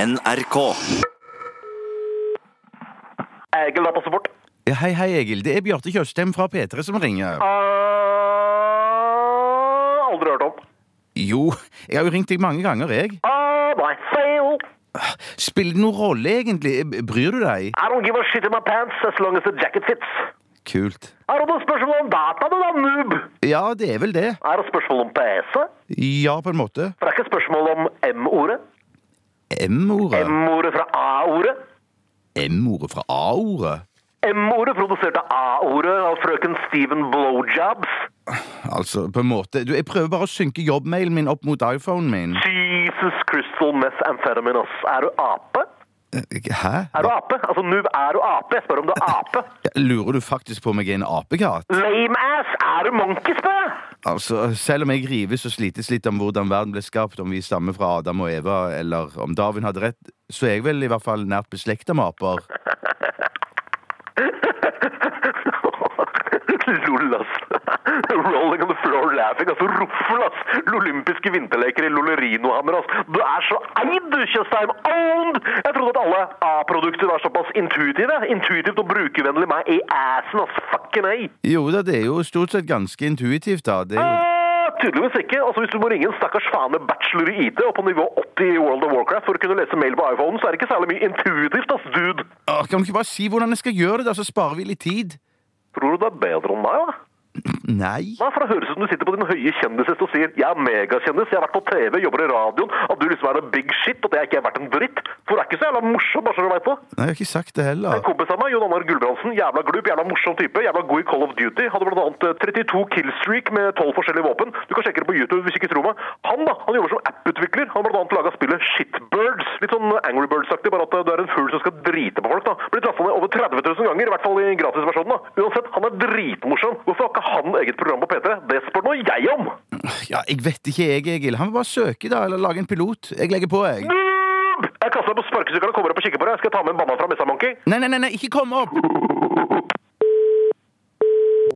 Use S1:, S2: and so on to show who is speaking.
S1: NRK.
S2: Egil datasupport.
S3: Ja, Hei, hei, Egil. Det er Bjarte Tjøstheim fra P3 som ringer.
S2: Ah, aldri hørt om.
S3: Jo, jeg har jo ringt deg mange ganger, jeg.
S2: Ah, nei, fail.
S3: Spiller det noen rolle, egentlig? B- Bryr du deg?
S2: I don't give a shit in my pants as long as the jacket fits.
S3: Kult.
S2: Er det noen spørsmål om data, du da, noob?
S3: Ja, det er vel det.
S2: Er det spørsmål om PC? For
S3: Ja, på en måte.
S2: det er ikke spørsmål om M-ordet.
S3: M-ordet.
S2: M-ordet fra A-ordet.
S3: M-ordet fra A-ordet.
S2: M-ordet produserte A-ordet av frøken Steven Blowjobs.
S3: Altså, på en måte. Du, jeg prøver bare å synke jobbmailen min opp mot iPhonen min.
S2: Jesus crystal methamphetamine, ass. Er du ape?
S3: Hæ?
S2: Er du ape? Altså, noob, er du ape? Jeg spør om du er ape.
S3: Lurer du faktisk på om jeg er en apekatt?
S2: Lame ass, er du monkey, spør jeg?
S3: Altså, selv om jeg rives og slites litt om hvordan verden ble skapt, om vi stammer fra Adam og Eva, eller om Darwin hadde rett, så er jeg vel i hvert fall nært beslekta med aper.
S2: Lol, ass. Rolling on the floor laughing. Altså, roffel, ass. Olympiske vinterleker i Lollerinohammer, ass. Du er så eid, du, Tjøstheim. Owned! Jeg trodde at alle A-produkter var såpass intuitive. Intuitivt og brukervennlig meg i assen, ass. Fucking ei.
S3: Jo da, det er jo stort sett ganske intuitivt, da. Det er jo...
S2: Ah, Tydeligvis ikke. Altså, Hvis du må ringe en stakkars faen med bachelor i IT og på nivå 80 i World of Warcraft for å kunne lese mail på iPhonen, så er det ikke særlig mye intuitivt, ass, dude.
S3: Åh, kan du ikke bare si hvordan jeg skal gjøre det, da, så sparer vi litt tid?
S2: Tror du det er bedre enn meg, da?
S3: Nei.
S2: Nei, for det høres ut som du sitter på din høye kjendishest og sier 'jeg er megakjendis, jeg har vært på TV, jobber i radioen', at du liksom er en big shit, og det er ikke jeg verdt en dritt. For det er ikke så jævla morsom, bare så du veit det.
S3: Nei, jeg har ikke sagt det
S2: En
S3: heller.
S2: kompis av meg, Jon Annar Gulbrandsen, jævla glup, jævla morsom type, jævla god i Call of Duty, hadde blant annet eh, 32 killstreak med 12 forskjellige våpen. Du kan sjekke det på YouTube hvis ikke tror meg. Han da, han jobber som app-utvikler. Han har blant annet laga spillet Shitbirds. Litt sånn Angry Birds-aktig, bare at eh, du er en fugl som skal drite på folk, da. Blitt lasta ned over 30 000 ganger, i hvert fall i gratisversjonen, da. Uansett, han er dritmorsom. Hvorfor har ikke han eget program på P3? Det spør nå jeg om!
S3: Ja, jeg vet ikke, jeg, Egil. Han må bare søke, da, eller lage en pilot. Jeg legger på, jeg.
S2: Noob! Jeg kaster meg på sparkesykkelen og kommer opp og kikker på deg. Skal jeg ta med en banan fra Messa Monkey?
S3: Nei, nei, nei, nei ikke kom opp!